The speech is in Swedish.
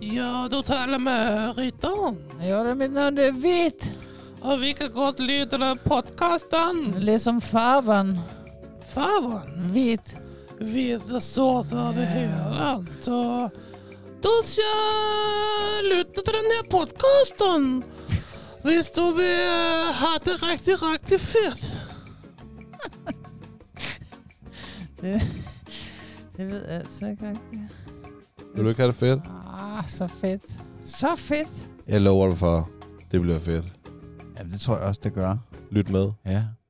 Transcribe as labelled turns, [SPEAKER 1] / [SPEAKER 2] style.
[SPEAKER 1] Ja, du talar med Ryttaren.
[SPEAKER 2] Jag gör det med någon du vet.
[SPEAKER 1] Och vilka gott lyder podcasten?
[SPEAKER 2] Eller som farvan
[SPEAKER 1] Farvan.
[SPEAKER 2] vet.
[SPEAKER 1] Vid sådana herren. Så då ska jag lyssna till den här podcasten. Visst du vill ha det riktigt, riktigt fett.
[SPEAKER 2] Det, det vet jag säkert inte.
[SPEAKER 3] Vill du kalla det fett?
[SPEAKER 2] Ah, så fett. Så fett.
[SPEAKER 3] Jeg lover dig for, det bliver fedt.
[SPEAKER 2] Ja, det tror jeg også, det gør.
[SPEAKER 3] Lyt med.
[SPEAKER 2] Ja.